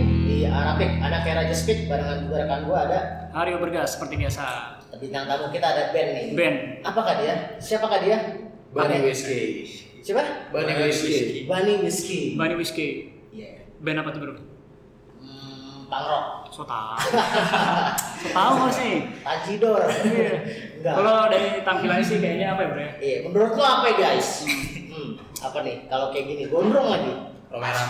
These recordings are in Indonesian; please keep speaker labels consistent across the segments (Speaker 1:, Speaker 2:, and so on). Speaker 1: di Arapik ada kayak Raja Speak barengan juga rekan gua ada
Speaker 2: Aryo bergas seperti biasa.
Speaker 1: bintang tamu kita ada band nih.
Speaker 2: Ben,
Speaker 1: Apakah dia? Siapakah dia?
Speaker 3: Bani
Speaker 1: Bani.
Speaker 3: Whiskey.
Speaker 1: Siapa?
Speaker 3: Bani Whiskey.
Speaker 1: Bani Whiskey.
Speaker 2: Bani Whiskey.
Speaker 1: Iya.
Speaker 2: Ben apa tuh bro?
Speaker 1: Hmm, Pang rock.
Speaker 2: So tau. so tau gak sih?
Speaker 1: Tajidor.
Speaker 2: Iya.
Speaker 1: Enggak.
Speaker 2: Kalau dari tampilannya sih kayaknya apa ya bro ya?
Speaker 1: Iya, menurut lo apa ya, guys? Hmm, apa nih? Kalau kayak gini gondrong lagi.
Speaker 3: Romero.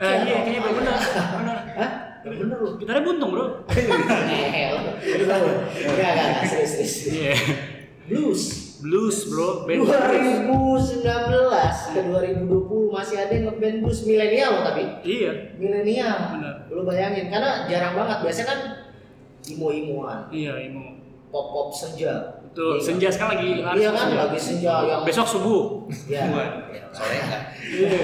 Speaker 2: Eh, iya, kayaknya bro bener. Bener.
Speaker 1: Hah? Bener lu.
Speaker 2: Gitarnya buntung bro.
Speaker 1: Eh, lu. Enggak, enggak, enggak, serius, serius.
Speaker 2: Iya.
Speaker 1: Blues.
Speaker 2: Blues bro. Ben.
Speaker 1: iya. 2019 ke 2020 masih ada yang ngeband blues milenial loh tapi
Speaker 2: Iya.
Speaker 1: milenial
Speaker 2: Bener.
Speaker 1: lu bayangin karena jarang banget biasanya kan imo-imoan
Speaker 2: Iya, imo.
Speaker 1: pop-pop senja
Speaker 2: Betul.
Speaker 1: Iya.
Speaker 2: Senja sekarang lagi. laris
Speaker 1: iya kan
Speaker 2: senja.
Speaker 1: lagi senja yang
Speaker 2: Besok subuh.
Speaker 1: ya.
Speaker 3: Sore enggak?
Speaker 2: Iya.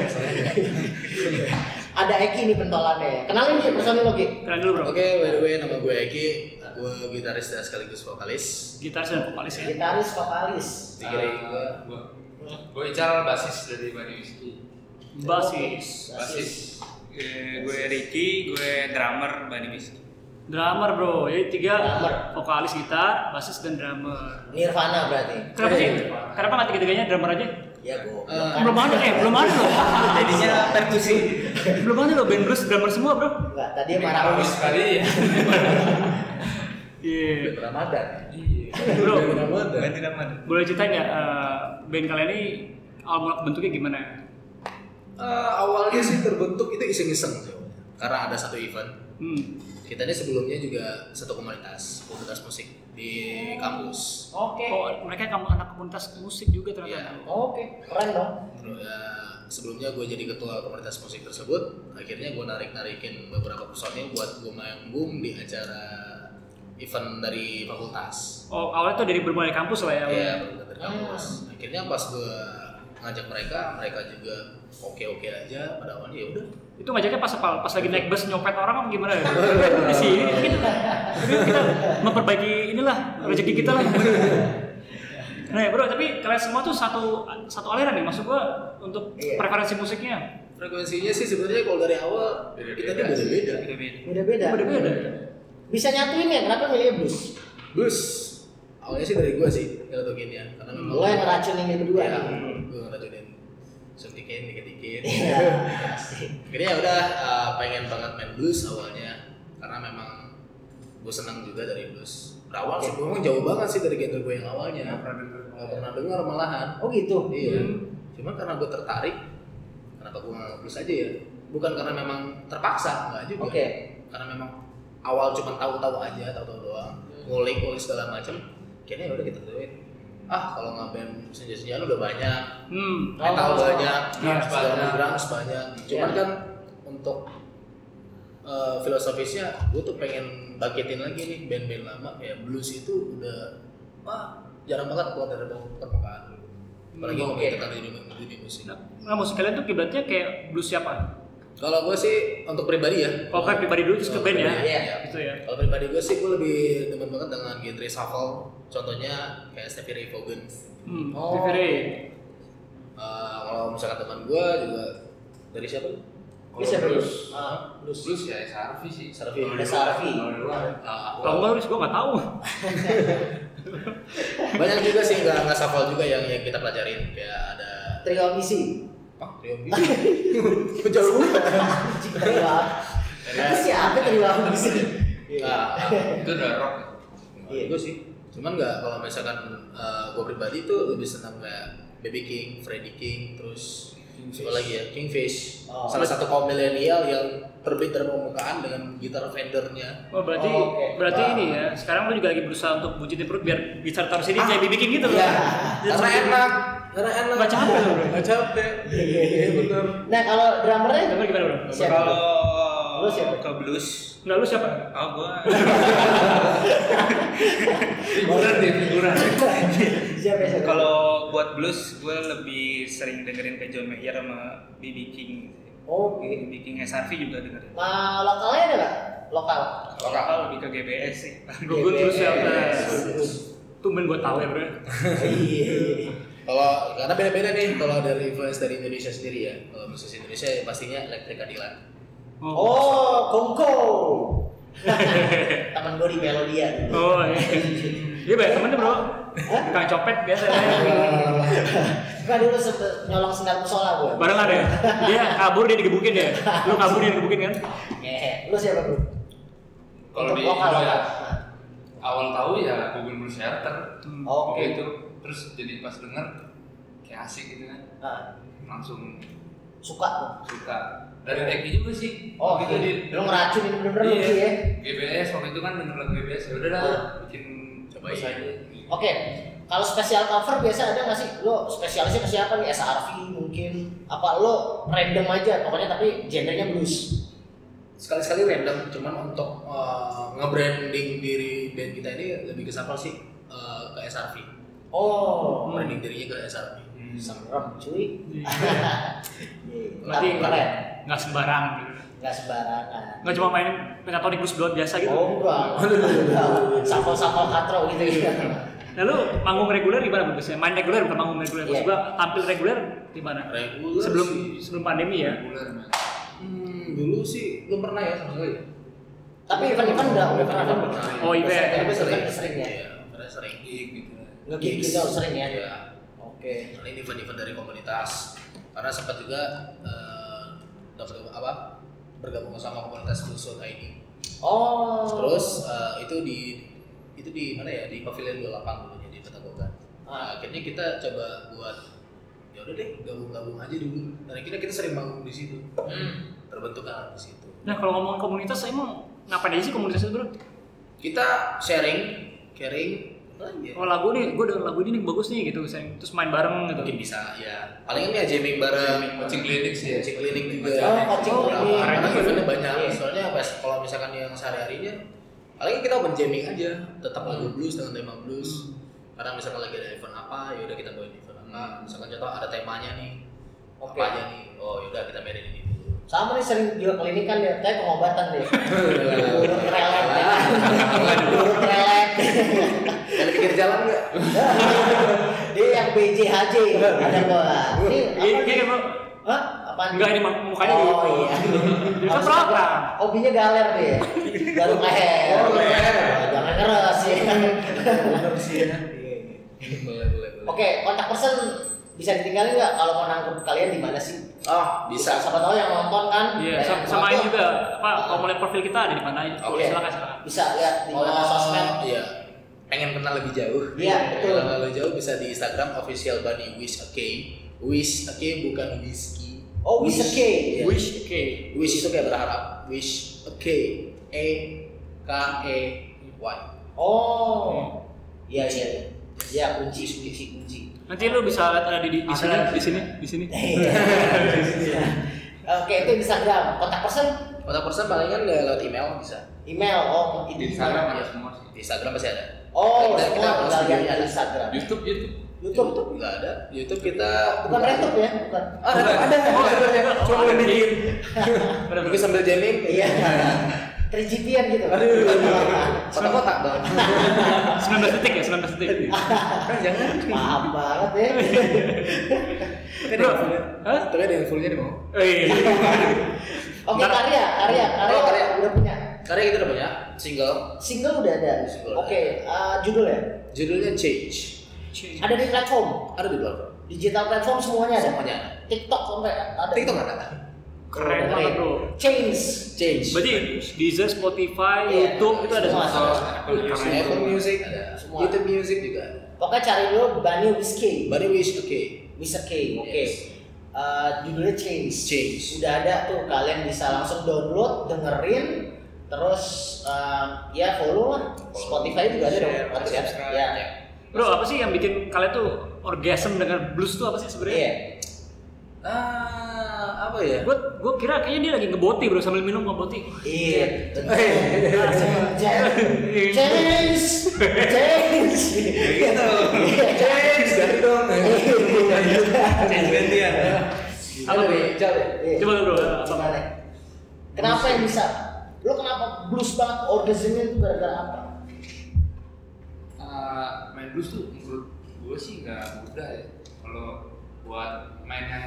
Speaker 1: ada Eki nih pentolannya kenalin dia personil lo Ki
Speaker 2: Kalian dulu bro.
Speaker 3: Oke, by the way nama gue Eki, gue gitaris dan sekaligus vokalis.
Speaker 2: Gitar dan vokalis ya.
Speaker 1: gitaris vokalis
Speaker 3: Di kiri gue
Speaker 4: gue gue Ical basis dari Bani Whiskey
Speaker 2: Basis.
Speaker 3: basis.
Speaker 4: Eh, gue Ricky gue drummer Bani Whiskey
Speaker 2: Drummer bro. Jadi tiga
Speaker 1: Drummer.
Speaker 2: vokalis gitar, basis dan drummer.
Speaker 1: Nirvana berarti
Speaker 2: Kenapa sih? Kenapa nggak tiga-tiganya drummer aja?
Speaker 1: ya gue
Speaker 3: Eh,
Speaker 2: Iya, Belum ada, eh belum ada loh.
Speaker 3: Jadinya perkusi.
Speaker 2: belum ada loh band blues drummer semua bro.
Speaker 1: enggak tadi yang marah
Speaker 4: Bagus sekali ya
Speaker 2: Iya.
Speaker 3: Ramadan.
Speaker 2: Bro,
Speaker 3: Ramadan.
Speaker 4: kan, Bani drummer
Speaker 2: boleh ceritain nggak eh, band kalian ini awal mula bentuknya gimana?
Speaker 3: Eh, awalnya sih terbentuk itu iseng-iseng sebenarnya. karena ada satu event
Speaker 2: Hmm.
Speaker 3: kita ini sebelumnya juga satu komunitas komunitas musik di kampus
Speaker 1: oke
Speaker 2: Oh, mereka kamu anak komunitas musik juga ternyata.
Speaker 3: Iya.
Speaker 1: oke keren dong
Speaker 3: Terus, eh, sebelumnya gue jadi ketua komunitas musik tersebut akhirnya gue narik narikin beberapa personil buat gue manggung di acara event dari fakultas
Speaker 2: Oh, awalnya tuh dari berbagai kampus lah ya.
Speaker 3: Iya, Ah. bener-bener dari kampus akhirnya pas gue ngajak mereka mereka juga oke oke aja pada awalnya ya udah
Speaker 2: Itu ngajaknya pas apa? Pas lagi naik bus nyopet orang apa gimana ya? Di sini gitu. Jadi kita memperbaiki inilah rezeki kita lah. Nah ya bro, tapi kalian semua tuh satu satu aliran nih, maksud gua untuk
Speaker 1: Iya.
Speaker 2: preferensi musiknya
Speaker 3: frekuensinya sih sebenarnya kalau dari awal kita tuh beda beda
Speaker 4: beda beda
Speaker 1: beda-beda
Speaker 2: beda-beda.
Speaker 1: bisa nyatuin ya kenapa milih blues
Speaker 3: bus awalnya sih dari gue sih ngerotokinnya ya, karena memang
Speaker 1: lo yang ngeracunin ini berdua
Speaker 3: ya,
Speaker 1: nih
Speaker 3: gue ngeracunin suntikin dikit dikit
Speaker 1: Iya, asik.
Speaker 3: akhirnya ya udah uh, pengen banget main blues awalnya karena memang gue senang juga dari blues berawal sih gue memang jauh banget sih dari genre gue yang awalnya nggak pernah denger malahan
Speaker 1: oh gitu
Speaker 3: iya cuma karena gue tertarik kenapa gue nggak blues aja ya bukan karena memang terpaksa nggak juga
Speaker 1: Oke.
Speaker 3: karena memang awal cuma tahu-tahu aja tahu-tahu doang ngulik ngulik segala macam kayaknya ya udah kita tuin ah kalau nggak band senja-senjaan udah banyak
Speaker 2: Hmm.
Speaker 3: metal
Speaker 1: Oh.
Speaker 3: banyak,
Speaker 4: Drums
Speaker 3: segala
Speaker 4: banyak.
Speaker 3: drums banyak. iya. Cuman
Speaker 1: Iya.
Speaker 3: kan untuk eh, filosofisnya, gue tuh pengen bakitin lagi nih band-band lama kayak blues itu udah wah jarang banget keluar dari bawah permukaan. Apalagi
Speaker 1: Hmm,
Speaker 3: kalau
Speaker 1: oke.
Speaker 3: kita kan di dunia, dunia musik.
Speaker 2: Nah, nah, musik kalian tuh kiblatnya kayak blues siapa?
Speaker 3: Kalau gue sih untuk pribadi ya.
Speaker 2: Oh, kan pribadi dulu, terus ke
Speaker 3: Kalau
Speaker 2: band ya?
Speaker 3: pribadi,
Speaker 1: Iya.
Speaker 3: iya.
Speaker 2: Gitu ya.
Speaker 3: Kalau pribadi gue sih gue lebih demen banget dengan genre shuffle. Contohnya kayak Stevie Ray Vaughan.
Speaker 2: Hmm.
Speaker 1: Oh.
Speaker 2: Stevie Ray.
Speaker 3: Eh, kalau misalkan teman gue juga dari siapa? lu?
Speaker 1: Bisa
Speaker 4: Kalau
Speaker 1: blues.
Speaker 4: blues
Speaker 1: Ah, blues.
Speaker 4: blues ya SRV sih
Speaker 3: SRV.
Speaker 4: Kalau di
Speaker 1: Ada
Speaker 4: luar-
Speaker 1: SRV.
Speaker 4: kalau di luar.
Speaker 3: Ah,
Speaker 2: Kalau enggak Luis, gua nggak tahu.
Speaker 3: banyak juga sih nggak nggak hafal juga yang yang kita pelajarin kayak ada
Speaker 1: Triomisi.
Speaker 3: ah triumvir jauh
Speaker 1: Itu siapa triomisi?
Speaker 3: nggak
Speaker 4: itu udah rock ya?
Speaker 1: Iya.
Speaker 3: gue Iya. sih cuman nggak kalau misalkan gue pribadi tuh lebih senang kayak Baby King, Freddy King, terus siapa lagi ya Kingfish
Speaker 1: Oh.
Speaker 3: salah satu kaum milenial yang terbit dari permukaan dengan gitar Fendernya
Speaker 2: Oh, berarti
Speaker 1: Oh, oke.
Speaker 2: berarti
Speaker 3: Wah.
Speaker 2: ini ya. Sekarang lu juga lagi berusaha untuk bujutin perut biar bisa taruh sini jadi bikin gitu loh.
Speaker 1: Iya.
Speaker 2: Jadi
Speaker 3: karena
Speaker 2: semakin-
Speaker 3: enak karena enak
Speaker 2: Nggak capek loh, bro.
Speaker 3: nggak capek iya bener
Speaker 1: Nah, kalau drummernya
Speaker 2: Gambar gimana, Bro?
Speaker 1: siapa?
Speaker 4: kalau
Speaker 1: Lu siapa?
Speaker 4: ke blues
Speaker 2: Enggak lu siapa?
Speaker 4: oh gue figuran deh figuran
Speaker 1: Siapa siapa?
Speaker 4: kalau buat blues gue lebih sering dengerin kayak John Mayer sama BB King
Speaker 1: oke.
Speaker 4: BB King SRV juga dengerin
Speaker 1: Nah, lokalnya ada nggak? Lokal.
Speaker 4: kalau apa lebih ke GBS sih
Speaker 2: Gugun terus siapa?
Speaker 1: Yes.
Speaker 2: Tumben gua tahu ya, Bro.
Speaker 1: Iya.
Speaker 3: Kalau karena beda-beda nih kalau dari influence dari Indonesia sendiri ya. Kalau musisi Indonesia ya pastinya Elektrik Adilan.
Speaker 1: Oh, Kongko. Temen gue di Melodia. dulu.
Speaker 2: Oh iya. Dia banyak temen tuh bro. Tukang copet biasa. ya.
Speaker 1: Gua dulu sempet nyolong sendal musola gue.
Speaker 2: Barengan ya. Dia kabur dia digebukin ya. Lu kabur dia digebukin kan?
Speaker 1: Ngehe. Lu siapa bro?
Speaker 5: Kalau
Speaker 1: Untuk
Speaker 5: di
Speaker 1: lokal,
Speaker 5: Indo ya,
Speaker 1: lokal.
Speaker 5: awal tahu ya Google Blue Shelter.
Speaker 1: Oh, Oke.
Speaker 5: Oke itu terus jadi pas denger kayak asik gitu kan
Speaker 1: Nah,
Speaker 5: langsung
Speaker 1: suka tuh.
Speaker 5: suka dari Eki juga sih
Speaker 1: Oh,
Speaker 5: gitu di
Speaker 1: lu ngeracunin bener-bener lu
Speaker 5: Iya.
Speaker 1: sih ya.
Speaker 5: GBS waktu itu kan bener lagu GBS ya udah dah
Speaker 1: Iya.
Speaker 5: bikin
Speaker 3: Coba
Speaker 5: terus
Speaker 3: iya.
Speaker 5: aja
Speaker 1: Oke, kalau spesial cover biasa ada nggak sih? Lo spesialisnya ke siapa nih? SRV mungkin? Apa lo random aja? Pokoknya tapi genrenya blues.
Speaker 3: sekali-sekali random cuman untuk uh, nge-branding diri band kita ini lebih ke sampel sih uh, ke SRV
Speaker 1: Oh,
Speaker 3: branding dirinya ke SRV
Speaker 1: Hmm. serem cuy. Iya.
Speaker 3: Berarti
Speaker 1: Tapi keren,
Speaker 2: Nggak sembarang. gitu.
Speaker 1: nggak sembarangan.
Speaker 2: Nggak cuma main pentatonik blues blood biasa gitu.
Speaker 1: Oh enggak, shuffle-shuffle katro gitu gitu.
Speaker 2: Nah lu manggung reguler gimana bro? Biasanya main reguler bukan manggung reguler. Maksud
Speaker 1: Iya.
Speaker 2: gua tampil reguler gimana?
Speaker 3: reguler
Speaker 2: Sebelum
Speaker 3: sih.
Speaker 2: sebelum pandemi ya.
Speaker 3: Iya.
Speaker 5: reguler man.
Speaker 3: hmm, dulu sih belum pernah ya sama sekali
Speaker 1: Tapi event-event udah udah pernah
Speaker 3: Belum
Speaker 1: dapet.
Speaker 2: Oh, event.
Speaker 1: Biasanya
Speaker 3: tapi sering
Speaker 1: event sering ya.
Speaker 3: Iya, pernah sering
Speaker 5: gig gitu lah.
Speaker 1: Nge-gig
Speaker 3: Gigs.
Speaker 1: gitu sering ya.
Speaker 3: Iya.
Speaker 1: Oke.
Speaker 3: Karena ini event-event dari komunitas karena sempat juga eh, dapat apa bergabung sama komunitas Lusun ID
Speaker 1: Oh.
Speaker 3: terus eh, itu di itu di mana ya di pavilion 28 dulunya di Petagogan
Speaker 1: Ah,
Speaker 3: nah, akhirnya kita coba buat ya udah deh gabung-gabung aja dulu dan akhirnya kita sering bangun di situ terbentuk kan di situ
Speaker 2: Nah kalau ngomongin komunitas emang ngapain aja sih komunitas itu bro?
Speaker 3: kita sharing sharing apa lagi ya?
Speaker 2: Oh lagu nih, gue denger lagu ini nih bagus nih gitu, saya terus main bareng gitu.
Speaker 3: mungkin bisa ya paling ini ya jamming bareng
Speaker 5: coaching klinik sih ya
Speaker 3: coaching klinik juga
Speaker 1: Oh, coaching
Speaker 3: Oh,
Speaker 1: klinik.
Speaker 3: karena
Speaker 1: Keren
Speaker 3: eventnya
Speaker 1: juga.
Speaker 3: banyak
Speaker 1: Iya.
Speaker 3: soalnya pas kalau misalkan yang sehari harinya paling kita open jamming aja tetap lagu blues dengan tema blues karena misalkan lagi ada event apa ya udah kita bawain event apa misalkan contoh ada temanya nih
Speaker 1: Oke.
Speaker 3: apa aja nih oh ya udah kita mainin ini dulu
Speaker 1: Sama nih sering juga klinik kan ya, kayak pengobatan deh. Urut relek ya. Urut relek.
Speaker 3: ada pikir jalan nggak
Speaker 1: Dia yang BJHJ ada gua. Ini
Speaker 2: Gini,
Speaker 1: apa?
Speaker 2: gini Iya, bro,
Speaker 1: Hah? Apaan?
Speaker 2: enggak ini mak- mukanya
Speaker 1: oh,
Speaker 2: gitu.
Speaker 1: iya.
Speaker 2: Dia kan program.
Speaker 1: Hobinya galer dia. Garuk leher.
Speaker 3: Oh,
Speaker 2: iya.
Speaker 3: leher.
Speaker 1: Jangan ngeres ya.
Speaker 3: bener sih ya boleh boleh boleh
Speaker 1: Oke, kontak person bisa ditinggalin nggak kalau mau nangkep kalian di mana sih?
Speaker 3: oh bisa
Speaker 1: Siapa tahu yang nonton kan?
Speaker 2: Iya,
Speaker 1: banyak
Speaker 2: sama,
Speaker 1: yang
Speaker 2: samain
Speaker 1: nonton.
Speaker 2: juga apa
Speaker 1: Ah.
Speaker 2: kalau mau lihat profil kita ada di mana aja. Iya,
Speaker 1: Oke.
Speaker 2: Silakan silakan.
Speaker 1: Bisa lihat di
Speaker 3: Kalau
Speaker 1: mana sosmed.
Speaker 3: Iya. Pengen kenal lebih jauh.
Speaker 1: Oh. Iya, betul.
Speaker 3: Pengen kenal lebih jauh bisa di Instagram official Bunny Wish Oke. Wish Oke bukan whiskey.
Speaker 1: Oh, Wish Oke.
Speaker 3: iya.
Speaker 2: Wish, oke.
Speaker 3: Wish itu kayak berharap. Wish Oke. E K E Y.
Speaker 1: Oh. Iya, iya. Iya, kunci, kunci, kunci.
Speaker 2: Nanti lu bisa lihat ada di di, di sini, di sini, di sini.
Speaker 1: Eh. Iya. Oke, itu Instagram. Kontak person,
Speaker 3: Kontak person palingan nggak kan lewat email bisa.
Speaker 1: email, oh,
Speaker 5: di
Speaker 1: ini
Speaker 5: Instagram
Speaker 1: email.
Speaker 5: ada semua sih
Speaker 3: Di Instagram pasti ada.
Speaker 1: Oh,
Speaker 3: Kita- kita
Speaker 1: semua
Speaker 3: post
Speaker 1: tinggal lihat
Speaker 3: videonya.
Speaker 1: di Instagram.
Speaker 5: YouTube YouTube
Speaker 1: YouTube tuh
Speaker 3: YouTube nggak ada. YouTube kita
Speaker 1: bukan laptop ya, bukan.
Speaker 3: Ah, ada, ada.
Speaker 2: Oh, ada, ada.
Speaker 3: Cuma
Speaker 2: Oh,
Speaker 3: belum
Speaker 2: ada.
Speaker 3: bikin.
Speaker 2: Bener,
Speaker 3: Mungkin
Speaker 2: bener.
Speaker 3: sambil jamming. Iya.
Speaker 1: Iya. 3GP-an gitu.
Speaker 3: Aduh. Kotak-kotak dong.
Speaker 2: 19 detik ya, 19 detik.
Speaker 3: Jangan.
Speaker 1: Paham banget ya.
Speaker 2: Bro, hah?
Speaker 3: Hah? Tapi ada yang fullnya nih mau.
Speaker 2: Eh, iya.
Speaker 1: Oke,
Speaker 2: Ntar.
Speaker 1: karya, karya, karya,
Speaker 3: Oh, karya.
Speaker 1: udah punya.
Speaker 3: Karya kita udah punya single
Speaker 1: Single udah ada.
Speaker 3: Single
Speaker 1: Oke, eh, judul ya.
Speaker 3: judulnya Change.
Speaker 2: iya.
Speaker 1: Ada di platform,
Speaker 3: Ada di platform.
Speaker 1: digital platform semuanya ada.
Speaker 3: Semuanya ada.
Speaker 1: TikTok sampai ada.
Speaker 3: TikTok ada.
Speaker 2: Keren banget, bro.
Speaker 1: Change.
Speaker 3: Change.
Speaker 2: Berarti Deezer, Spotify,
Speaker 1: Iya.
Speaker 2: YouTube itu ada
Speaker 1: Semua,
Speaker 2: semua.
Speaker 1: semua.
Speaker 2: Keren.
Speaker 3: Apple Music ada.
Speaker 1: Semua.
Speaker 3: YouTube Music juga ada.
Speaker 1: Pokoknya cari dulu Bani Whiskey.
Speaker 3: Body Wish oke.
Speaker 1: Mr. K, oke.
Speaker 3: Yes.
Speaker 1: Eh, judulnya Change.
Speaker 3: Change.
Speaker 1: Sudah ada tuh kalian bisa langsung download, dengerin, terus eh, ya follow lah. Spotify juga ada dong,
Speaker 4: Share,
Speaker 1: harus ya.
Speaker 4: subscribe.
Speaker 1: Ya.
Speaker 2: Bro, apa sih yang bikin kalian tuh orgasm dengan blues tuh apa sih
Speaker 1: Iya.
Speaker 2: sebenarnya?
Speaker 3: Ah, apa ya?
Speaker 2: Gue gue kira kayaknya dia lagi ngeboti bro sambil minum ngeboti.
Speaker 1: Iya. Change. Change. Change. Change.
Speaker 4: gitu.
Speaker 1: Change.
Speaker 3: ganti dong.
Speaker 4: Change gantian.
Speaker 2: Apa, Bro?
Speaker 1: Coba. Iya.
Speaker 2: Coba bro, apa
Speaker 1: Gimana? Kenapa yang bisa? Lo kenapa blues banget orgasmnya itu gara-gara apa?
Speaker 5: Ah, main blues tuh menurut gue sih nggak mudah ya kalau buat main yang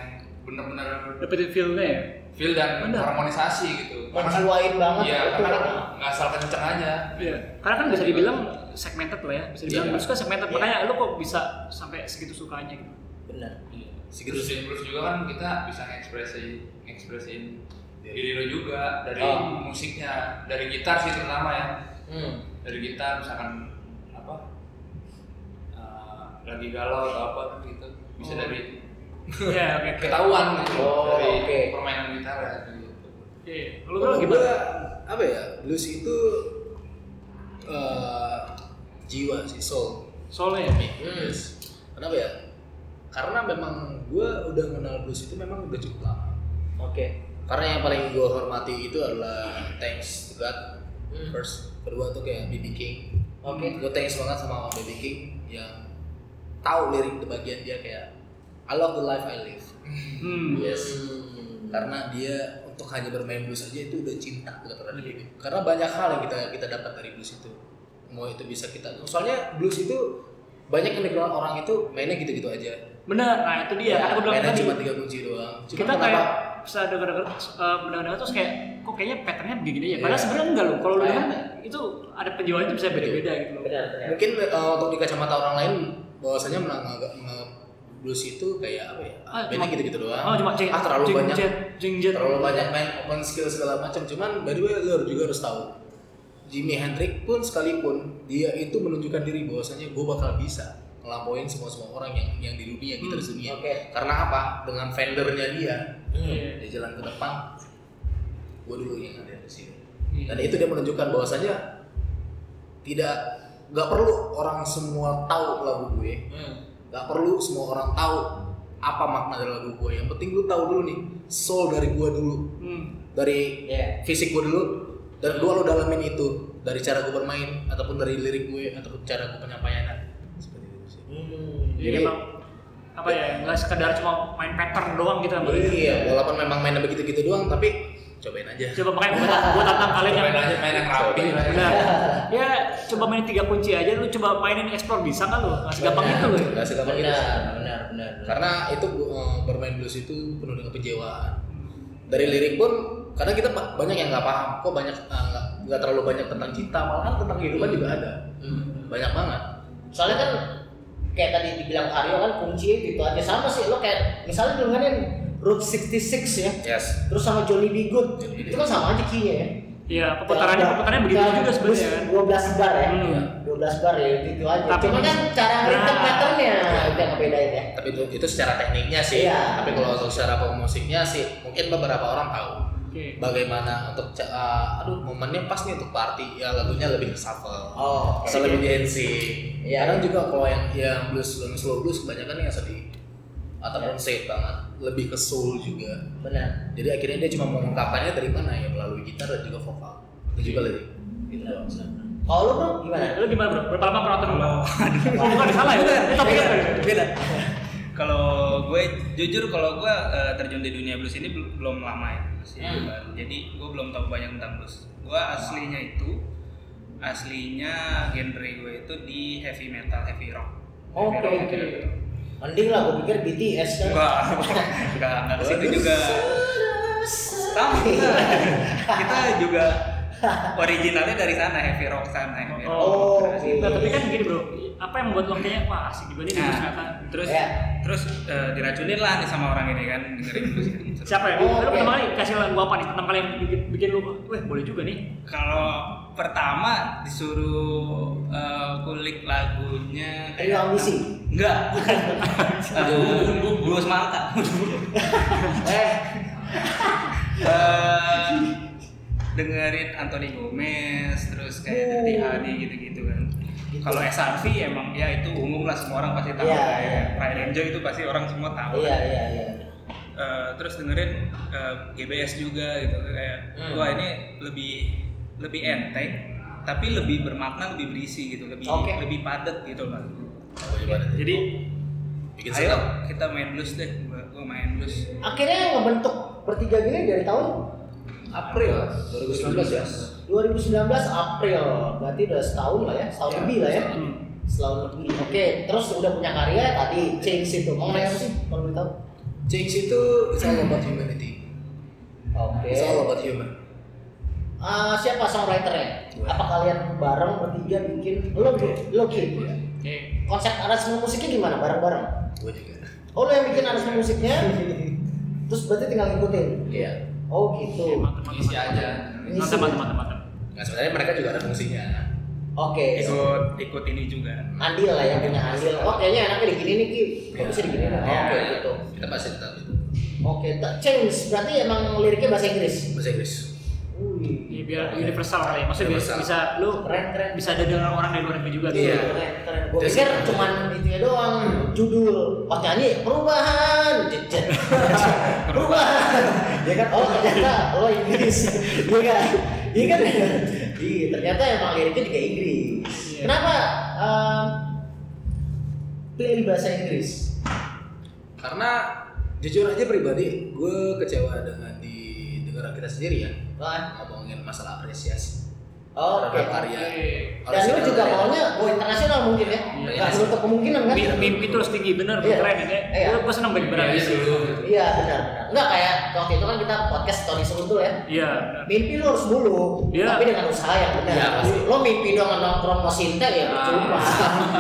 Speaker 5: bener-bener
Speaker 2: dapetin feelnya ya?
Speaker 5: feel dan
Speaker 2: Bener.
Speaker 5: harmonisasi gitu. Karena kan-
Speaker 1: menjiwain banget
Speaker 5: Iya,
Speaker 1: betul.
Speaker 5: karena kan nggak asal kenceng aja.
Speaker 2: Iya. Karena kan bisa dibilang segmented lah ya, bisa dibilang
Speaker 5: Iya.
Speaker 2: yeah. suka segmented.
Speaker 1: Iya.
Speaker 2: Makanya lu kok bisa sampai segitu sukanya gitu.
Speaker 1: benar
Speaker 5: Segitu sih plus juga kan kita bisa ngekspresi ngekspresin diri lo juga dari
Speaker 1: Oh.
Speaker 5: musiknya, dari gitar sih terutama ya.
Speaker 1: hmm.
Speaker 5: Dari gitar misalkan apa? eh, lagi galau atau apa gitu. Bisa
Speaker 2: Oh.
Speaker 5: dari
Speaker 2: Iya, oke. oke.
Speaker 5: ketahuan gitu
Speaker 1: Oh,
Speaker 5: dari
Speaker 1: oke.
Speaker 5: permainan gitar ya gitu.
Speaker 2: Iya. Lu bro
Speaker 3: Kalau gue
Speaker 2: gimana?
Speaker 3: apa ya blues itu eh, jiwa sih soul.
Speaker 2: Soalnya ya.
Speaker 1: Hmm.
Speaker 3: Yes. Kenapa ya? Karena memang gue udah kenal blues itu memang udah cukup lama.
Speaker 1: oke
Speaker 3: Karena yang paling gue hormati itu adalah thanks to God
Speaker 1: Hmm.
Speaker 3: first. Kedua tuh kayak BB King.
Speaker 1: Oke.
Speaker 3: Gue thanks banget sama BB King yang tahu lirik di bagian dia kayak I love the life I live.
Speaker 2: Hmm.
Speaker 3: Yes.
Speaker 1: Hmm.
Speaker 3: karena dia untuk hanya bermain blues aja itu udah cinta kita terhadap
Speaker 2: Iya.
Speaker 3: hidup karena banyak hal yang kita kita dapat dari blues itu mau itu bisa kita soalnya blues itu banyak yang dikenal orang itu mainnya gitu-gitu aja
Speaker 2: Bener. Nah, itu dia. Karena gue bilang
Speaker 3: mainnya
Speaker 2: tadi.
Speaker 3: cuma tiga kunci doang cuma
Speaker 2: kita
Speaker 3: kenapa-
Speaker 2: kayak bisa dengar-dengar eh, mendengar-dengar terus kayak kok kayaknya patternnya begini ya padahal
Speaker 3: Iya.
Speaker 2: sebenarnya enggak loh kalau lu
Speaker 1: Kayak-
Speaker 2: lihat itu ada penjualannya bisa beda-beda gitu loh
Speaker 1: benar benar
Speaker 3: mungkin eh, untuk di kacamata orang lain bahwasanya menganggap menganggap blues itu kayak apa ya
Speaker 2: Ah,
Speaker 3: mainnya
Speaker 2: cuma-
Speaker 3: gitu-gitu doang
Speaker 2: oh cuma jeng
Speaker 3: ah terlalu
Speaker 2: jeng
Speaker 3: banyak
Speaker 2: jet jeng jet
Speaker 3: Iya, terlalu banyak main open skill segala macam cuman by the way lu harus- juga harus tahu Jimi Hendrix pun sekalipun dia itu menunjukkan diri bahwasanya gue bakal bisa ngelapoin semua semua orang yang yang di dunia kita di dunia
Speaker 1: Oke. Hmm.
Speaker 3: karena apa dengan vendornya dia
Speaker 2: Iya.
Speaker 3: dia jalan ke depan gue dulu yang ada di sini
Speaker 2: Iya.
Speaker 3: dan itu dia menunjukkan bahwasanya tidak nggak perlu orang semua tahu lagu gue
Speaker 2: Iya.
Speaker 1: Hmm.
Speaker 3: Gak perlu semua orang tahu apa makna dari lagu gue. Yang penting lu tahu dulu nih soul dari gue dulu,
Speaker 2: Hmm.
Speaker 3: dari
Speaker 1: Iya.
Speaker 3: fisik gue dulu. Dan gue lo dalamin itu dari cara gue bermain ataupun dari lirik gue ataupun cara gue penyampaiannya. Seperti itu sih.
Speaker 1: Hmm.
Speaker 2: jadi emang apa ya nggak sekedar cuma main pattern doang gitu sama dia.
Speaker 3: Iya, walaupun memang mainnya begitu-gitu doang, tapi cobain aja.
Speaker 2: coba makanya gue tat- gue tantang kalian yang
Speaker 5: Main aja main yang rapi. lah.
Speaker 2: benar ya coba main tiga kunci aja lu coba mainin explore bisa nggak lu ya? nggak segampang itu loh
Speaker 3: Gak Iya. segampang itu.
Speaker 1: benar
Speaker 3: sih.
Speaker 1: benar benar benar.
Speaker 3: Karena itu eh, bermain blues itu penuh dengan penjewaan. dari lirik pun kadang kita ba- banyak yang nggak paham kok banyak eh, nggak nggak terlalu banyak tentang cinta malahan tentang kehidupan juga ada
Speaker 1: Hmm.
Speaker 3: banyak banget
Speaker 1: soalnya kan kayak tadi dibilang Aryo kan kunci gitu aja sama sih lo kayak misalnya dengerin Route 66 ya
Speaker 3: yes
Speaker 1: terus sama Johnny B. Good
Speaker 3: Johnny B.
Speaker 1: itu kan sama aja key ya
Speaker 2: Iya, perputarannya
Speaker 1: Nah,
Speaker 2: perputarannya begitu juga sebenarnya kan.
Speaker 1: 12 bar ya
Speaker 2: Hmm.
Speaker 1: 12 bar ya gitu aja
Speaker 2: Tapi-
Speaker 1: cuma kan cara ngitung
Speaker 2: Nah.
Speaker 1: patternnya itu yang ngebedain ya
Speaker 3: tapi itu, itu secara tekniknya sih
Speaker 1: Iya.
Speaker 3: tapi kalau untuk secara pemusiknya sih mungkin beberapa orang tahu
Speaker 2: Oke.
Speaker 3: bagaimana untuk ca- eh, aduh momennya pas nih untuk party ya lagunya lebih ke shuffle
Speaker 1: oh
Speaker 3: atau lebih dancing
Speaker 1: Iya.
Speaker 3: kadang juga kalau yang yang blues yang slow blues kebanyakan yang sedih ataupun sad banget lebih ke soul juga
Speaker 1: benar
Speaker 3: jadi akhirnya dia cuma mau mengungkapkannya dari mana ya melalui gitar dan juga vokal dan juga lirik gitu doang sih.
Speaker 1: kalau lo bro gimana
Speaker 2: Lu gimana bro? Berapa lama penonton lu? Oh, bukan salah ya? Ini topiknya apa ya?
Speaker 4: Beda. Kalau gue jujur kalau gue eh, terjun di dunia blues ini bel- belum lama ya, masih
Speaker 1: Hmm.
Speaker 4: baru. Jadi gue belum tahu banyak tentang blues. Gue aslinya itu aslinya genre gue itu di heavy metal, heavy rock.
Speaker 1: Oke,
Speaker 4: Heavy rock,
Speaker 1: oke.
Speaker 4: heavy rock.
Speaker 1: mending lah gue pikir BTS kan
Speaker 4: Enggak, enggak, enggak ke situ juga. Tapi kita juga originalnya dari sana heavy rock sana heavy rock.
Speaker 2: Oh,
Speaker 1: oke.
Speaker 2: nah, tapi kan gini bro, apa yang membuat lo kayaknya wah asik juga nih di
Speaker 4: Nah,
Speaker 2: ternyata.
Speaker 4: terus
Speaker 1: Ya.
Speaker 4: terus eh, diracunin lah nih sama orang ini kan dengerin terus kan. Terus
Speaker 2: Siapa ya?
Speaker 1: Oh,
Speaker 2: Lu
Speaker 1: oke.
Speaker 2: pertama kali kasih lagu apa nih? Pertama kali yang bikin, bikin lu, weh boleh juga nih.
Speaker 4: kalau pertama disuruh eh, kulik lagunya
Speaker 1: Ayo ambisi.
Speaker 4: enggak bukan Eh, bulu semangka
Speaker 1: Eh,
Speaker 4: Eh, dengerin Anthony Gomez terus
Speaker 1: Oh.
Speaker 4: kayak Dirty Hardy gitu-gitu kan kalau SRV emang ya itu umum lah semua orang pasti tahu
Speaker 1: Iya,
Speaker 4: kayak
Speaker 1: iya.
Speaker 4: Pride and Joy itu pasti orang semua tahu
Speaker 1: iya iya iya.
Speaker 4: Eh, terus dengerin eh, GBS juga gitu kayak
Speaker 1: Hmm.
Speaker 4: wah ini lebih lebih enteng tapi lebih bermakna lebih berisi gitu lebih
Speaker 1: Oke.
Speaker 4: lebih padat gitu loh
Speaker 3: Apa gimana tuh?
Speaker 4: jadi
Speaker 3: bikin
Speaker 4: ayo
Speaker 3: senang
Speaker 4: kita main blues deh gua, gua main blues
Speaker 1: Akhirnya yang ngebentuk bertiga gini dari tahun
Speaker 3: April 2019 ya
Speaker 1: 2019 April. Berarti udah setahun lah ya, setahun
Speaker 3: Iya,
Speaker 1: lebih lah ya.
Speaker 2: Hmm.
Speaker 1: Setahun lebih. Oke, terus udah punya karya tadi change itu. Mau nanya apa sih kalau boleh tahu?
Speaker 3: Change itu it's all about humanity
Speaker 1: Oke.
Speaker 3: It's all about human.
Speaker 1: Ah, siapa songwriternya?
Speaker 3: Gue.
Speaker 1: Apa kalian bareng bertiga bikin? Lo lo Ki.
Speaker 3: Iya.
Speaker 1: Konsep aransemen musiknya gimana? Bareng-bareng.
Speaker 3: Gue juga.
Speaker 1: Oh lo yang bikin aransemen musiknya? Terus berarti tinggal ngikutin.
Speaker 3: Iya.
Speaker 1: Oh gitu. Oke.
Speaker 5: Isi aja.
Speaker 1: Ngisi.
Speaker 2: Mantap, mantap, mantap, mantap.
Speaker 3: Nah sebenarnya mereka juga ada fungsinya. Iya.
Speaker 4: ikut ikut ini juga
Speaker 1: Andil lah yang punya andil. Oh kayaknya enaknya digini nih Ki. Kok
Speaker 3: Iya.
Speaker 1: bisa digini? Oke
Speaker 3: Iya.
Speaker 1: gitu.
Speaker 3: Kita bahas tentang itu.
Speaker 1: Oke. tak- Change berarti emang liriknya bahasa Inggris.
Speaker 3: Bahasa Inggris.
Speaker 2: Ya,
Speaker 1: Wih.
Speaker 2: biar universal kali ya. Maksudnya bisa,
Speaker 3: Universal.
Speaker 2: bisa lu
Speaker 1: Keren keren.
Speaker 2: bisa ada dengan orang dari luar negeri juga gitu.
Speaker 3: Iya.
Speaker 1: Keren, keren. Gue pikir cuman itunya doang judul. Oh nyanyi perubahan, Cet-cet. perubahan. Ya kan? Oh ternyata lo Inggris, iya kan? Iya kan? Iya. Ternyata emang liriknya juga Inggris.
Speaker 2: Iya.
Speaker 1: Kenapa em, pilih bahasa Inggris?
Speaker 3: Karena jujur aja pribadi, gue kecewa dengan di negara kita sendiri ya
Speaker 1: Wah.
Speaker 3: ngomongin masalah apresiasi
Speaker 1: Oh,
Speaker 3: terhadap
Speaker 1: Oke.
Speaker 3: karya.
Speaker 1: Dan lo juga maunya go internasional mungkin ya?
Speaker 2: Iya.
Speaker 1: Gak menutup kemungkinan kan?
Speaker 2: Mi- Mimpi terus tinggi bener,
Speaker 1: Iya.
Speaker 2: keren ya.
Speaker 1: Iya.
Speaker 2: Gue seneng banget
Speaker 5: Iya,
Speaker 2: berarti
Speaker 5: iya,
Speaker 2: sih.
Speaker 5: dulu.
Speaker 1: Iya benar. benar. Nggak kayak waktu itu kan kita podcast Tony Seruntul ya.
Speaker 2: Iya. benar.
Speaker 1: mimpi lo harus mulu
Speaker 2: Iya.
Speaker 1: tapi dengan usaha yang benar
Speaker 3: Iya, pasti.
Speaker 1: lo mimpi doang nongkrong mau sintek ya
Speaker 5: Ah.
Speaker 1: cuma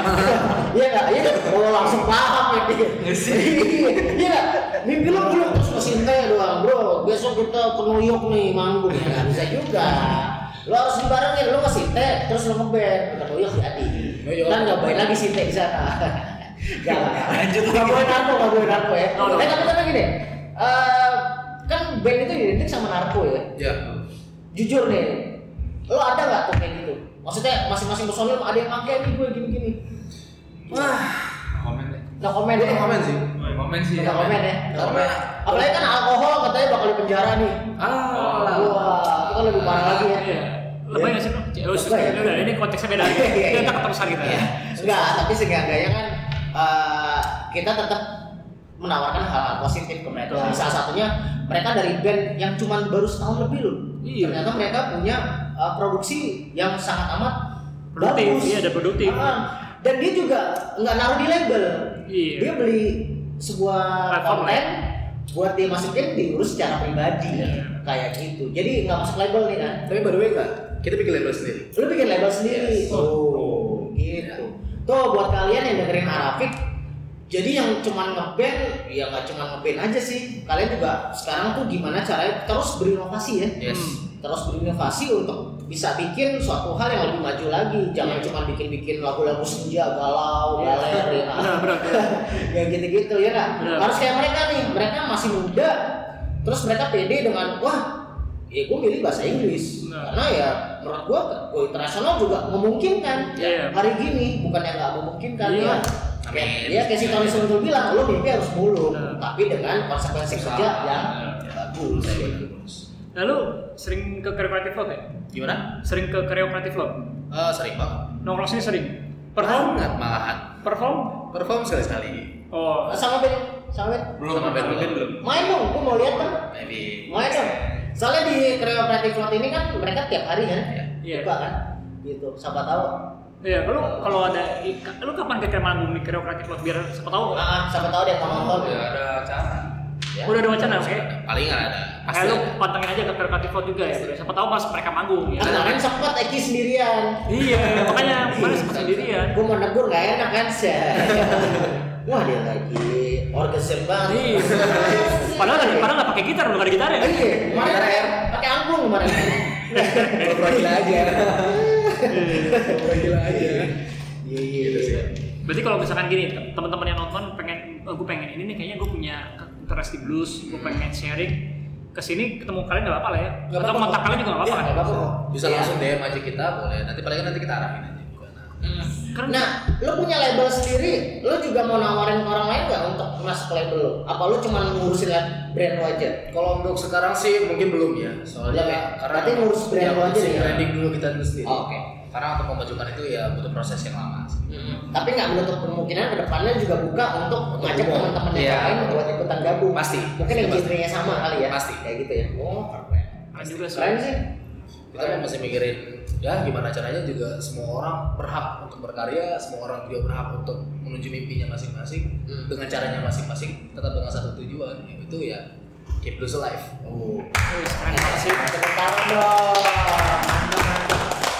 Speaker 1: iya nggak iya nggak? lo langsung paham ya Pi. iya nggak? mimpi lo belum terus mau sintek ya doang bro besok kita ke New York nih manggung ya nggak bisa juga lo harus dibarengin lo mau sintek terus lo ngeband ke New York jadi
Speaker 3: New York.
Speaker 1: kan nggak boleh lagi sintek di sana Gak,
Speaker 4: Lanjut
Speaker 1: Gak boleh narko, gak boleh narko ya.
Speaker 2: No, no.
Speaker 1: Eh tapi tapi gini, eh, kan band itu identik sama narko ya
Speaker 3: Ya.
Speaker 1: jujur nih lo ada nggak tuh kayak gitu maksudnya masing-masing personil ada yang pakai nih gue gini-gini wah
Speaker 5: Komen deh.
Speaker 1: nggak komen
Speaker 3: Gue
Speaker 1: ya
Speaker 3: komen sih.
Speaker 5: Komen sih.
Speaker 1: nggak komen ya nggak komen
Speaker 3: Karena
Speaker 1: apalagi kan alkohol katanya bakal di penjara nih
Speaker 3: ah
Speaker 5: Ah.
Speaker 1: wah itu kan lebih parah lagi ya
Speaker 2: Iya. Lebay nggak sih bro? Ya, usus-
Speaker 1: Lebay.
Speaker 2: udah, ini konteksnya beda.
Speaker 1: Iya, iya,
Speaker 2: Kita
Speaker 1: iya.
Speaker 2: keterusan kita.
Speaker 1: Iya. Enggak, tapi seenggak-enggaknya kan eh, kita tetap menawarkan hal-hal positif ke mereka.
Speaker 2: Betul.
Speaker 1: Salah satunya mereka dari band yang cuman baru setahun lebih loh.
Speaker 2: Iya.
Speaker 1: Ternyata mereka punya eh, produksi yang sangat amat
Speaker 2: Produktif,
Speaker 1: bagus.
Speaker 2: iya, ada produktif.
Speaker 1: Ah, dan dia juga nggak naruh di label.
Speaker 2: Iya.
Speaker 1: Dia beli sebuah
Speaker 2: Platform ya?
Speaker 1: konten buat dia masukin diurus secara pribadi
Speaker 2: Iya.
Speaker 1: kayak gitu. Jadi nggak masuk label nih kan
Speaker 3: tapi by the way enggak, kita bikin label sendiri.
Speaker 1: lu bikin label sendiri
Speaker 3: Yes.
Speaker 1: oh gitu tuh buat kalian yang dengerin Arafik jadi yang cuman ngeband ya nggak cuman ngeband aja sih kalian juga sekarang tuh gimana caranya terus berinovasi ya
Speaker 3: Yes.
Speaker 1: terus berinovasi untuk bisa bikin suatu hal yang lebih maju lagi jangan cuma bikin-bikin lagu-lagu senja galau
Speaker 2: Iya.
Speaker 1: galer ya
Speaker 2: Benar,
Speaker 1: kan?
Speaker 2: benar.
Speaker 1: ya gitu-gitu ya kan
Speaker 2: Benar.
Speaker 1: harus kayak mereka nih mereka masih muda terus mereka pede dengan wah ya gue milih bahasa Inggris
Speaker 2: Benar.
Speaker 1: karena ya menurut gue gue internasional juga memungkinkan
Speaker 2: Iya.
Speaker 1: hari gini bukan yang nggak memungkinkan
Speaker 2: Iya.
Speaker 1: ya Kayak, ya kayak si Tony Suntul bilang lu mimpi harus mulu
Speaker 2: Benar.
Speaker 1: tapi dengan konsekuensi
Speaker 5: Usaha.
Speaker 1: kerja ya. yang
Speaker 5: Iya.
Speaker 1: bagus
Speaker 3: ya.
Speaker 2: Nah lu sering ke kreatif vlog ya?
Speaker 3: Gimana?
Speaker 2: Sering ke kreatif vlog?
Speaker 3: Eh sering banget.
Speaker 2: Nongkrong sini sering? Perform?
Speaker 3: Banget malahan.
Speaker 2: Perform?
Speaker 3: Perform sekali sekali.
Speaker 2: Oh,
Speaker 1: sama Ben sama Ben
Speaker 5: Belum
Speaker 3: Sama band
Speaker 5: belum.
Speaker 3: belum.
Speaker 1: main dong gue mau lihat kan
Speaker 3: Maybe.
Speaker 1: main dong soalnya di Kreo Creative Float ini kan mereka tiap hari kan
Speaker 2: iya.
Speaker 1: buka kan gitu siapa tahu
Speaker 2: Iya, lu kalau ada lu kapan ke Kemanggung di Kreo Kreatif Lot biar siapa tahu
Speaker 1: ah siapa tahu dia mau nonton
Speaker 3: Oh,
Speaker 5: Ya
Speaker 3: iya.
Speaker 5: ada acara.
Speaker 3: Ya.
Speaker 2: udah ada wacana oke.
Speaker 3: Paling ada.
Speaker 2: Kayak
Speaker 3: Pasti
Speaker 2: lu
Speaker 3: ada.
Speaker 2: pantengin aja ke Kreo Kreatif Lot juga ya, bro. Siapa tahu pas mereka manggung ya.
Speaker 1: Kan kemarin sempet Eki sendirian
Speaker 2: iya, makanya kemarin
Speaker 1: Iya.
Speaker 2: sempat sendirian.
Speaker 1: gue mau negur gak enak kan sih wah dia lagi orgasm banget
Speaker 2: Iya. Padahal tadi padahal nggak pakai gitar, lu nggak ada gitar ya.
Speaker 1: iya kemarin air pakai angklung kemarin
Speaker 3: Pura-pura gila aja. Pura-pura gila aja.
Speaker 1: iya iya
Speaker 3: Gitu sih.
Speaker 2: Berarti kalau misalkan gini, teman-teman yang nonton pengen oh, gue pengen ini nih kayaknya gue punya interest di blues, gue pengen sharing ke sini ketemu kalian nggak apa-apa lah ya.
Speaker 3: Nggak
Speaker 2: Atau
Speaker 3: apa-apa.
Speaker 2: kontak kalian juga nggak apa-apa kan?
Speaker 1: Iya, Nggak apa-apa kok.
Speaker 3: Bisa
Speaker 1: Iya.
Speaker 3: langsung DM aja kita boleh. Nanti paling nanti kita arahin aja. gimana.
Speaker 2: Karena
Speaker 1: Nah, lo punya label sendiri, lo juga mau nawarin ke orang lain nggak untuk masuk ke label lo? Apa lo cuma ngurusin lab- brand lo aja?
Speaker 3: Kalau untuk sekarang sih mungkin belum ya, soalnya
Speaker 1: Belum ya?
Speaker 3: karena
Speaker 1: Berarti ngurus brand
Speaker 3: ya,
Speaker 1: lo aja
Speaker 3: ngurusin
Speaker 1: nih ya?
Speaker 3: branding dulu kita dulu sendiri.
Speaker 1: Oh, oke.
Speaker 3: Karena untuk memajukan itu ya butuh proses yang lama. Sih.
Speaker 1: Tapi nggak menutup kemungkinan kedepannya juga buka untuk ngajak
Speaker 3: umum.
Speaker 1: teman-teman yang
Speaker 3: Iya.
Speaker 1: lain buat ikutan gabung.
Speaker 3: Pasti.
Speaker 1: Mungkin
Speaker 3: Pasti,
Speaker 1: yang
Speaker 3: pasti.
Speaker 1: genre-nya sama kali ya?
Speaker 3: Pasti.
Speaker 1: Kayak gitu ya? Oh, keren.
Speaker 2: Keren juga sih.
Speaker 1: Keren sih.
Speaker 3: Kita
Speaker 1: Iya.
Speaker 3: kan masih mikirin ya gimana caranya juga semua orang berhak untuk berkarya, semua orang juga berhak untuk menuju mimpinya masing-masing
Speaker 1: Hmm.
Speaker 3: dengan caranya masing-masing, tetap dengan satu tujuan yaitu ya Keep Blues Alive.
Speaker 1: Oh.
Speaker 2: Wih, keren banget sih.
Speaker 1: Tepuk tangan dong. Mantap, mantap.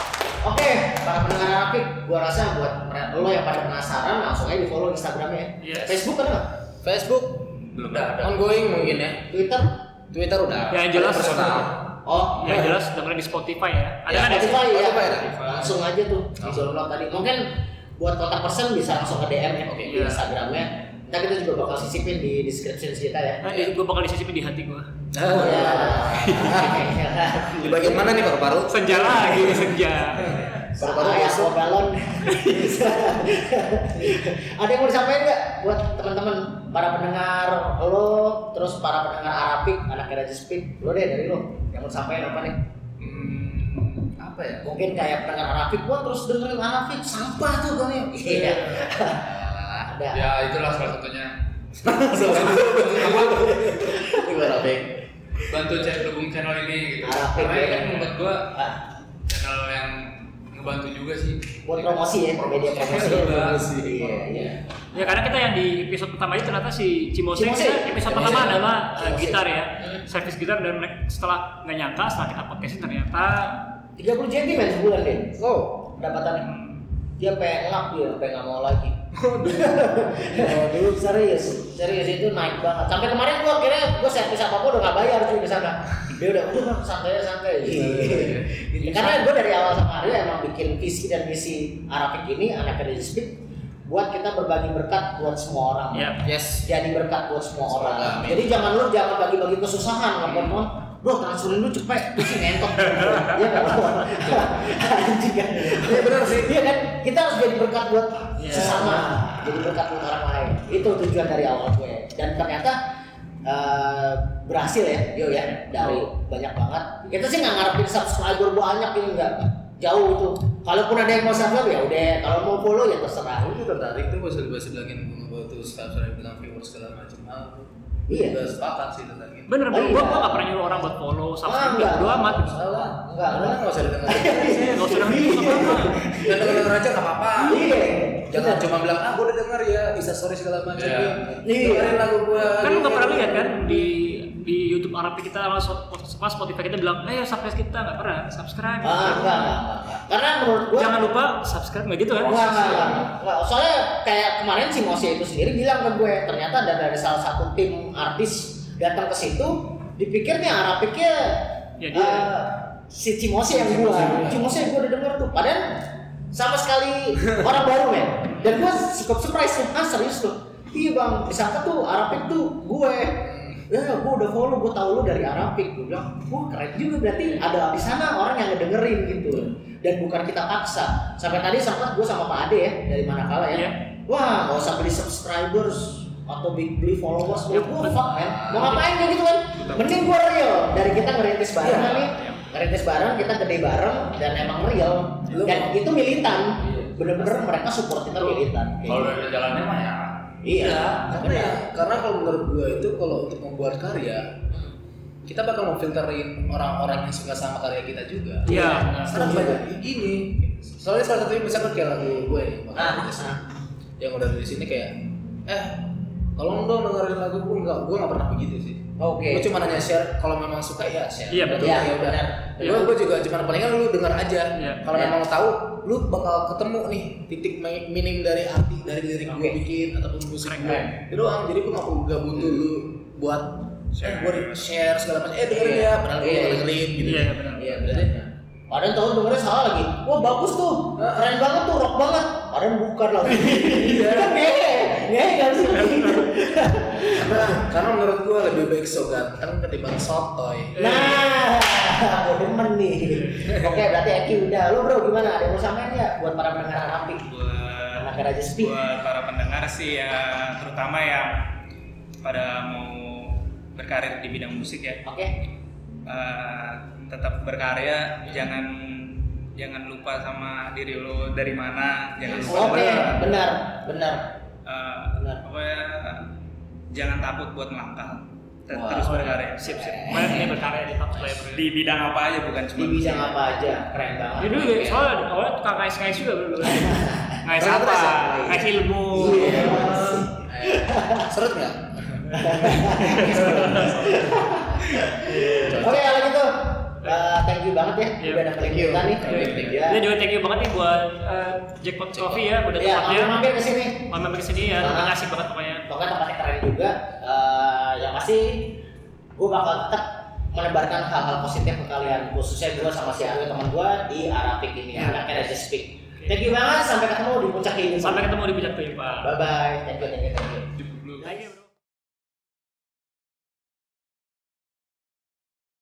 Speaker 1: Oke, para pendengar Rapik, gua rasa buat mer- lo yang pada penasaran langsung aja di follow Instagramnya. ya.
Speaker 2: Yes.
Speaker 1: Facebook ada nggak?
Speaker 3: Facebook
Speaker 5: Belum
Speaker 3: udah
Speaker 5: ada.
Speaker 3: ongoing mungkin ya.
Speaker 1: Twitter?
Speaker 3: Twitter udah.
Speaker 2: Ya, yang jelas.
Speaker 3: personal.
Speaker 2: Yang
Speaker 1: Oh,
Speaker 2: Iya, jelas dengerin di Spotify ya. Ada
Speaker 1: ya,
Speaker 2: kan ya?
Speaker 1: Spotify ya.
Speaker 3: Spotify ada.
Speaker 1: Langsung aja tuh di Zolblog tadi. Mungkin buat kontak person bisa langsung ke DM ya, di
Speaker 2: Iya.
Speaker 1: Instagramnya. Nanti kita juga bakal sisipin di description kita ya.
Speaker 2: Nah, gue bakal disisipin di hati gue.
Speaker 1: Oh,
Speaker 3: Nah,
Speaker 1: iya.
Speaker 3: Di bagian mana nih paru-paru?
Speaker 2: Senja lagi, senja.
Speaker 1: Baru-baru ya dua galon. Ada yang mau disampaikan nggak buat teman-teman para pendengar lo, terus para pendengar Arapik, anak Raja Speak, lo deh dari lo yang mau disampaikan apa nih?
Speaker 5: Hmm, apa ya?
Speaker 1: Mungkin kayak pendengar Arapik, gua terus dengerin Arapik sampah tuh gua nih. Iya. Ada.
Speaker 5: Ya itulah salah satunya.
Speaker 3: Gimana, Bang?
Speaker 5: Bantu cek dukung channel ini gitu.
Speaker 1: Ah,
Speaker 5: Karena
Speaker 1: iya.
Speaker 5: ini kan membuat gua
Speaker 1: Ah,
Speaker 5: channel yang ngebantu juga sih.
Speaker 1: buat promosi ya, media promosi.
Speaker 5: Promosi.
Speaker 1: Iya, iya.
Speaker 2: Ya karena kita yang di episode pertama itu ternyata si Cimose,
Speaker 1: Cimose.
Speaker 2: kita episode
Speaker 1: Cimose.
Speaker 2: pertama adalah uh,
Speaker 1: Cimose.
Speaker 2: gitar ya.
Speaker 1: Hmm.
Speaker 2: Service gitar dan mereka- setelah nggak nyangka setelah kita podcastin ternyata
Speaker 1: 30 cm men sebulan deh.
Speaker 3: Oh,
Speaker 1: Pendapatannya. Dia pengen lap dia, pengen nggak mau lagi. Oh, dulu serius, serius itu naik banget. Sampai kemarin gua kira gua servis apa gua udah nggak bayar cuy di sana. Dia udah udah Bang, santai aja, santai. Gitu. Karena gua dari awal sama Arya emang bikin visi dan misi Arapik ini anak dari Speak buat kita berbagi berkat buat semua orang.
Speaker 2: ya
Speaker 3: yes.
Speaker 1: Jadi berkat buat semua orang.
Speaker 3: amin.
Speaker 1: Jadi jangan lu jangan bagi-bagi kesusahan ngomong-ngomong. Bro, transferin lu cepet, pusing ngentok. Iya kan? Anjing kan. Iya benar sih. Iya kan? Kita harus jadi berkat buat
Speaker 2: Iya.
Speaker 1: sesama, jadi berkat buat orang lain. Itu tujuan dari awal gue. Dan ternyata eh, berhasil ya, yo ya dari
Speaker 2: Oh.
Speaker 1: banyak banget. Kita sih nggak ngarepin subscriber banyak ini enggak jauh itu. Kalaupun ada yang mau subscribe ya udah, kalau mau follow ya terserah.
Speaker 3: Aku tuh tertarik tuh pas bahasa bilangin ngebantu subscribe bilang viewers segala macam. Ah,
Speaker 1: Iya.
Speaker 3: Udah sepakat sih tentang ini.
Speaker 2: bener bener
Speaker 1: Oh,
Speaker 2: gue
Speaker 1: iya.
Speaker 2: gak pernah nyuruh orang buat follow subscribe
Speaker 1: enggak.
Speaker 2: ah, gue amat
Speaker 3: Salah.
Speaker 1: Enggak,
Speaker 3: Karena
Speaker 1: enggak.
Speaker 3: nggak usah didengar.
Speaker 2: gak usah dengerin sama apa
Speaker 3: Dan denger aja nggak apa-apa.
Speaker 1: Iya.
Speaker 3: Jangan cuma bilang ah gue udah denger ya bisa sorry segala macam.
Speaker 5: Iya.
Speaker 1: Iya.
Speaker 3: Dengerin lagu gue.
Speaker 2: kan lu nggak pernah lihat kan di di YouTube Arab kita langsung pas Spotify kita bilang ayo subscribe kita nggak pernah subscribe
Speaker 1: Ah, enggak, enggak, enggak, enggak. Karena menurut gua
Speaker 2: jangan lupa subscribe nggak gitu kan
Speaker 1: Enggak, enggak, enggak, enggak. Soalnya kayak kemarin si Mose itu sendiri bilang ke gue ternyata ada dari salah satu tim artis datang ke situ dipikirnya Arapiknya
Speaker 2: Ya, dia.
Speaker 1: eh, si Cimose yang gue Cimose yang gue udah denger tuh padahal sama sekali orang baru men dan gue cukup surprise tuh ah serius tuh iya bang disangka tuh Arapik tuh gue ya gue udah follow gue tau lu dari Arapik gue bilang wah keren juga berarti ada di sana orang yang ngedengerin gitu dan bukan kita paksa sampai tadi sempat gue sama Pak Ade ya dari mana kalah ya
Speaker 2: Iya.
Speaker 1: wah nggak usah beli subscribers atau beli, beli followers
Speaker 2: Ya,
Speaker 1: ya, gue
Speaker 2: betul.
Speaker 1: fuck man mau ngapain kayak gitu kan mending gue real dari kita ngerintis bareng
Speaker 3: Iya.
Speaker 1: nih ngerintis bareng kita gede bareng dan emang real
Speaker 3: Lu
Speaker 1: dan
Speaker 3: mau-
Speaker 1: itu militan
Speaker 5: Iya.
Speaker 1: bener-bener mereka support kita
Speaker 5: Betul. Iya.
Speaker 1: militan kayak
Speaker 5: Kalau
Speaker 1: gitu.
Speaker 5: udah ada jalannya mah ya.
Speaker 1: iya
Speaker 3: Karena ya, karena kalau menurut gue itu kalau untuk membuat karya kita bakal memfilterin orang-orang yang suka sama karya kita juga.
Speaker 2: Iya,
Speaker 1: Nah,
Speaker 3: Sekarang
Speaker 1: benar.
Speaker 3: banyak gini. Soalnya salah satunya misalkan kayak lagu gue yang bakal
Speaker 1: Ah,
Speaker 3: rilis.
Speaker 1: ah.
Speaker 3: yang udah di sini kayak eh tolong dong dengerin lagu gue enggak gue nggak pernah begitu sih.
Speaker 1: oke
Speaker 3: Gue cuma nanya share kalau memang suka ya share.
Speaker 2: Iya,
Speaker 3: Kalau
Speaker 2: betul.
Speaker 3: enggak,
Speaker 1: Iya,
Speaker 3: ya udah.
Speaker 1: benar.
Speaker 2: Iya.
Speaker 3: Gue gue juga cuma palingan lu denger aja.
Speaker 2: Iya.
Speaker 3: Kalau
Speaker 1: Iya.
Speaker 3: memang lu tahu lu bakal ketemu nih titik mi- minim dari arti dari lirik gue
Speaker 1: Oke.
Speaker 3: bikin ataupun musik
Speaker 2: Keren,
Speaker 3: gue.
Speaker 1: keren.
Speaker 3: Itu doang jadi gue nggak nggak butuh lu buat share.
Speaker 5: Share.
Speaker 3: gue share segala macam. Eh dengerin
Speaker 1: Iya.
Speaker 3: ya, padahal gue
Speaker 1: Iya.
Speaker 3: nggak dengerin gitu.
Speaker 2: iya benar
Speaker 1: iya berarti Padahal tahu dengernya salah lagi. Wah bagus tuh, keren banget tuh, rock banget. Padahal bukan lagi. Iya. Kan ngehe, ngehe nggak kan sih.
Speaker 3: Nah, karena menurut gue lebih baik so ganteng ketimbang sotoy.
Speaker 1: Nah, aku demen nih. Oke, berarti Eki udah. Lo bro gimana? Ada yang mau sampein nggak buat para pendengar Rapi?
Speaker 4: buat
Speaker 1: Anak Raja Speak.
Speaker 4: buat para pendengar sih ya terutama yang pada mau berkarir di bidang musik ya
Speaker 1: Oke.
Speaker 4: eh, tetap berkarya jangan jangan lupa sama diri lo dari mana jangan lupa
Speaker 1: Oke,
Speaker 4: sama-
Speaker 1: benar, benar.
Speaker 4: eh,
Speaker 1: Benar.
Speaker 4: pokoknya, eh, jangan takut buat melangkah Ter-
Speaker 1: Wah.
Speaker 4: terus berkarya
Speaker 2: sip sip banyak nih berkarya di Top Label
Speaker 4: di bidang apa aja bukan cuma
Speaker 1: Di bidang apa aja, keren banget.
Speaker 2: Jadi dulu ya, soalnya awalnya tukang ngais-ngais juga dulu Ngais
Speaker 3: Terus,
Speaker 2: apa?
Speaker 3: terus ya?
Speaker 2: Ngais ilmu
Speaker 1: Iya.
Speaker 3: Seret nggak?
Speaker 1: Oke, kalau gitu eh, thank you banget ya
Speaker 2: Iya.
Speaker 1: udah nemenin
Speaker 3: Thank you.
Speaker 1: kita nih.
Speaker 3: Thank you, thank you.
Speaker 1: Ya.
Speaker 2: Kita juga thank you banget nih buat eh, Jackpot Coffee ya, udah
Speaker 1: Iya,
Speaker 2: tempatnya.
Speaker 1: mampir-mampir ke sini.
Speaker 2: Mampir ke sini ya,
Speaker 1: Ah.
Speaker 2: terima kasih banget pokoknya.
Speaker 1: Pokoknya tempatnya keren juga. Eh, yang pasti gue bakal tetap menebarkan hal-hal positif ke kalian khususnya gue sama si Aryo teman gue di Arapik ini
Speaker 2: Iya.
Speaker 1: anaknya Resist Speak thank you banget sampai ketemu di puncak kehidupan
Speaker 2: Sampai ketemu di Puncak Kehidupan.
Speaker 1: bye bye thank you thank you thank you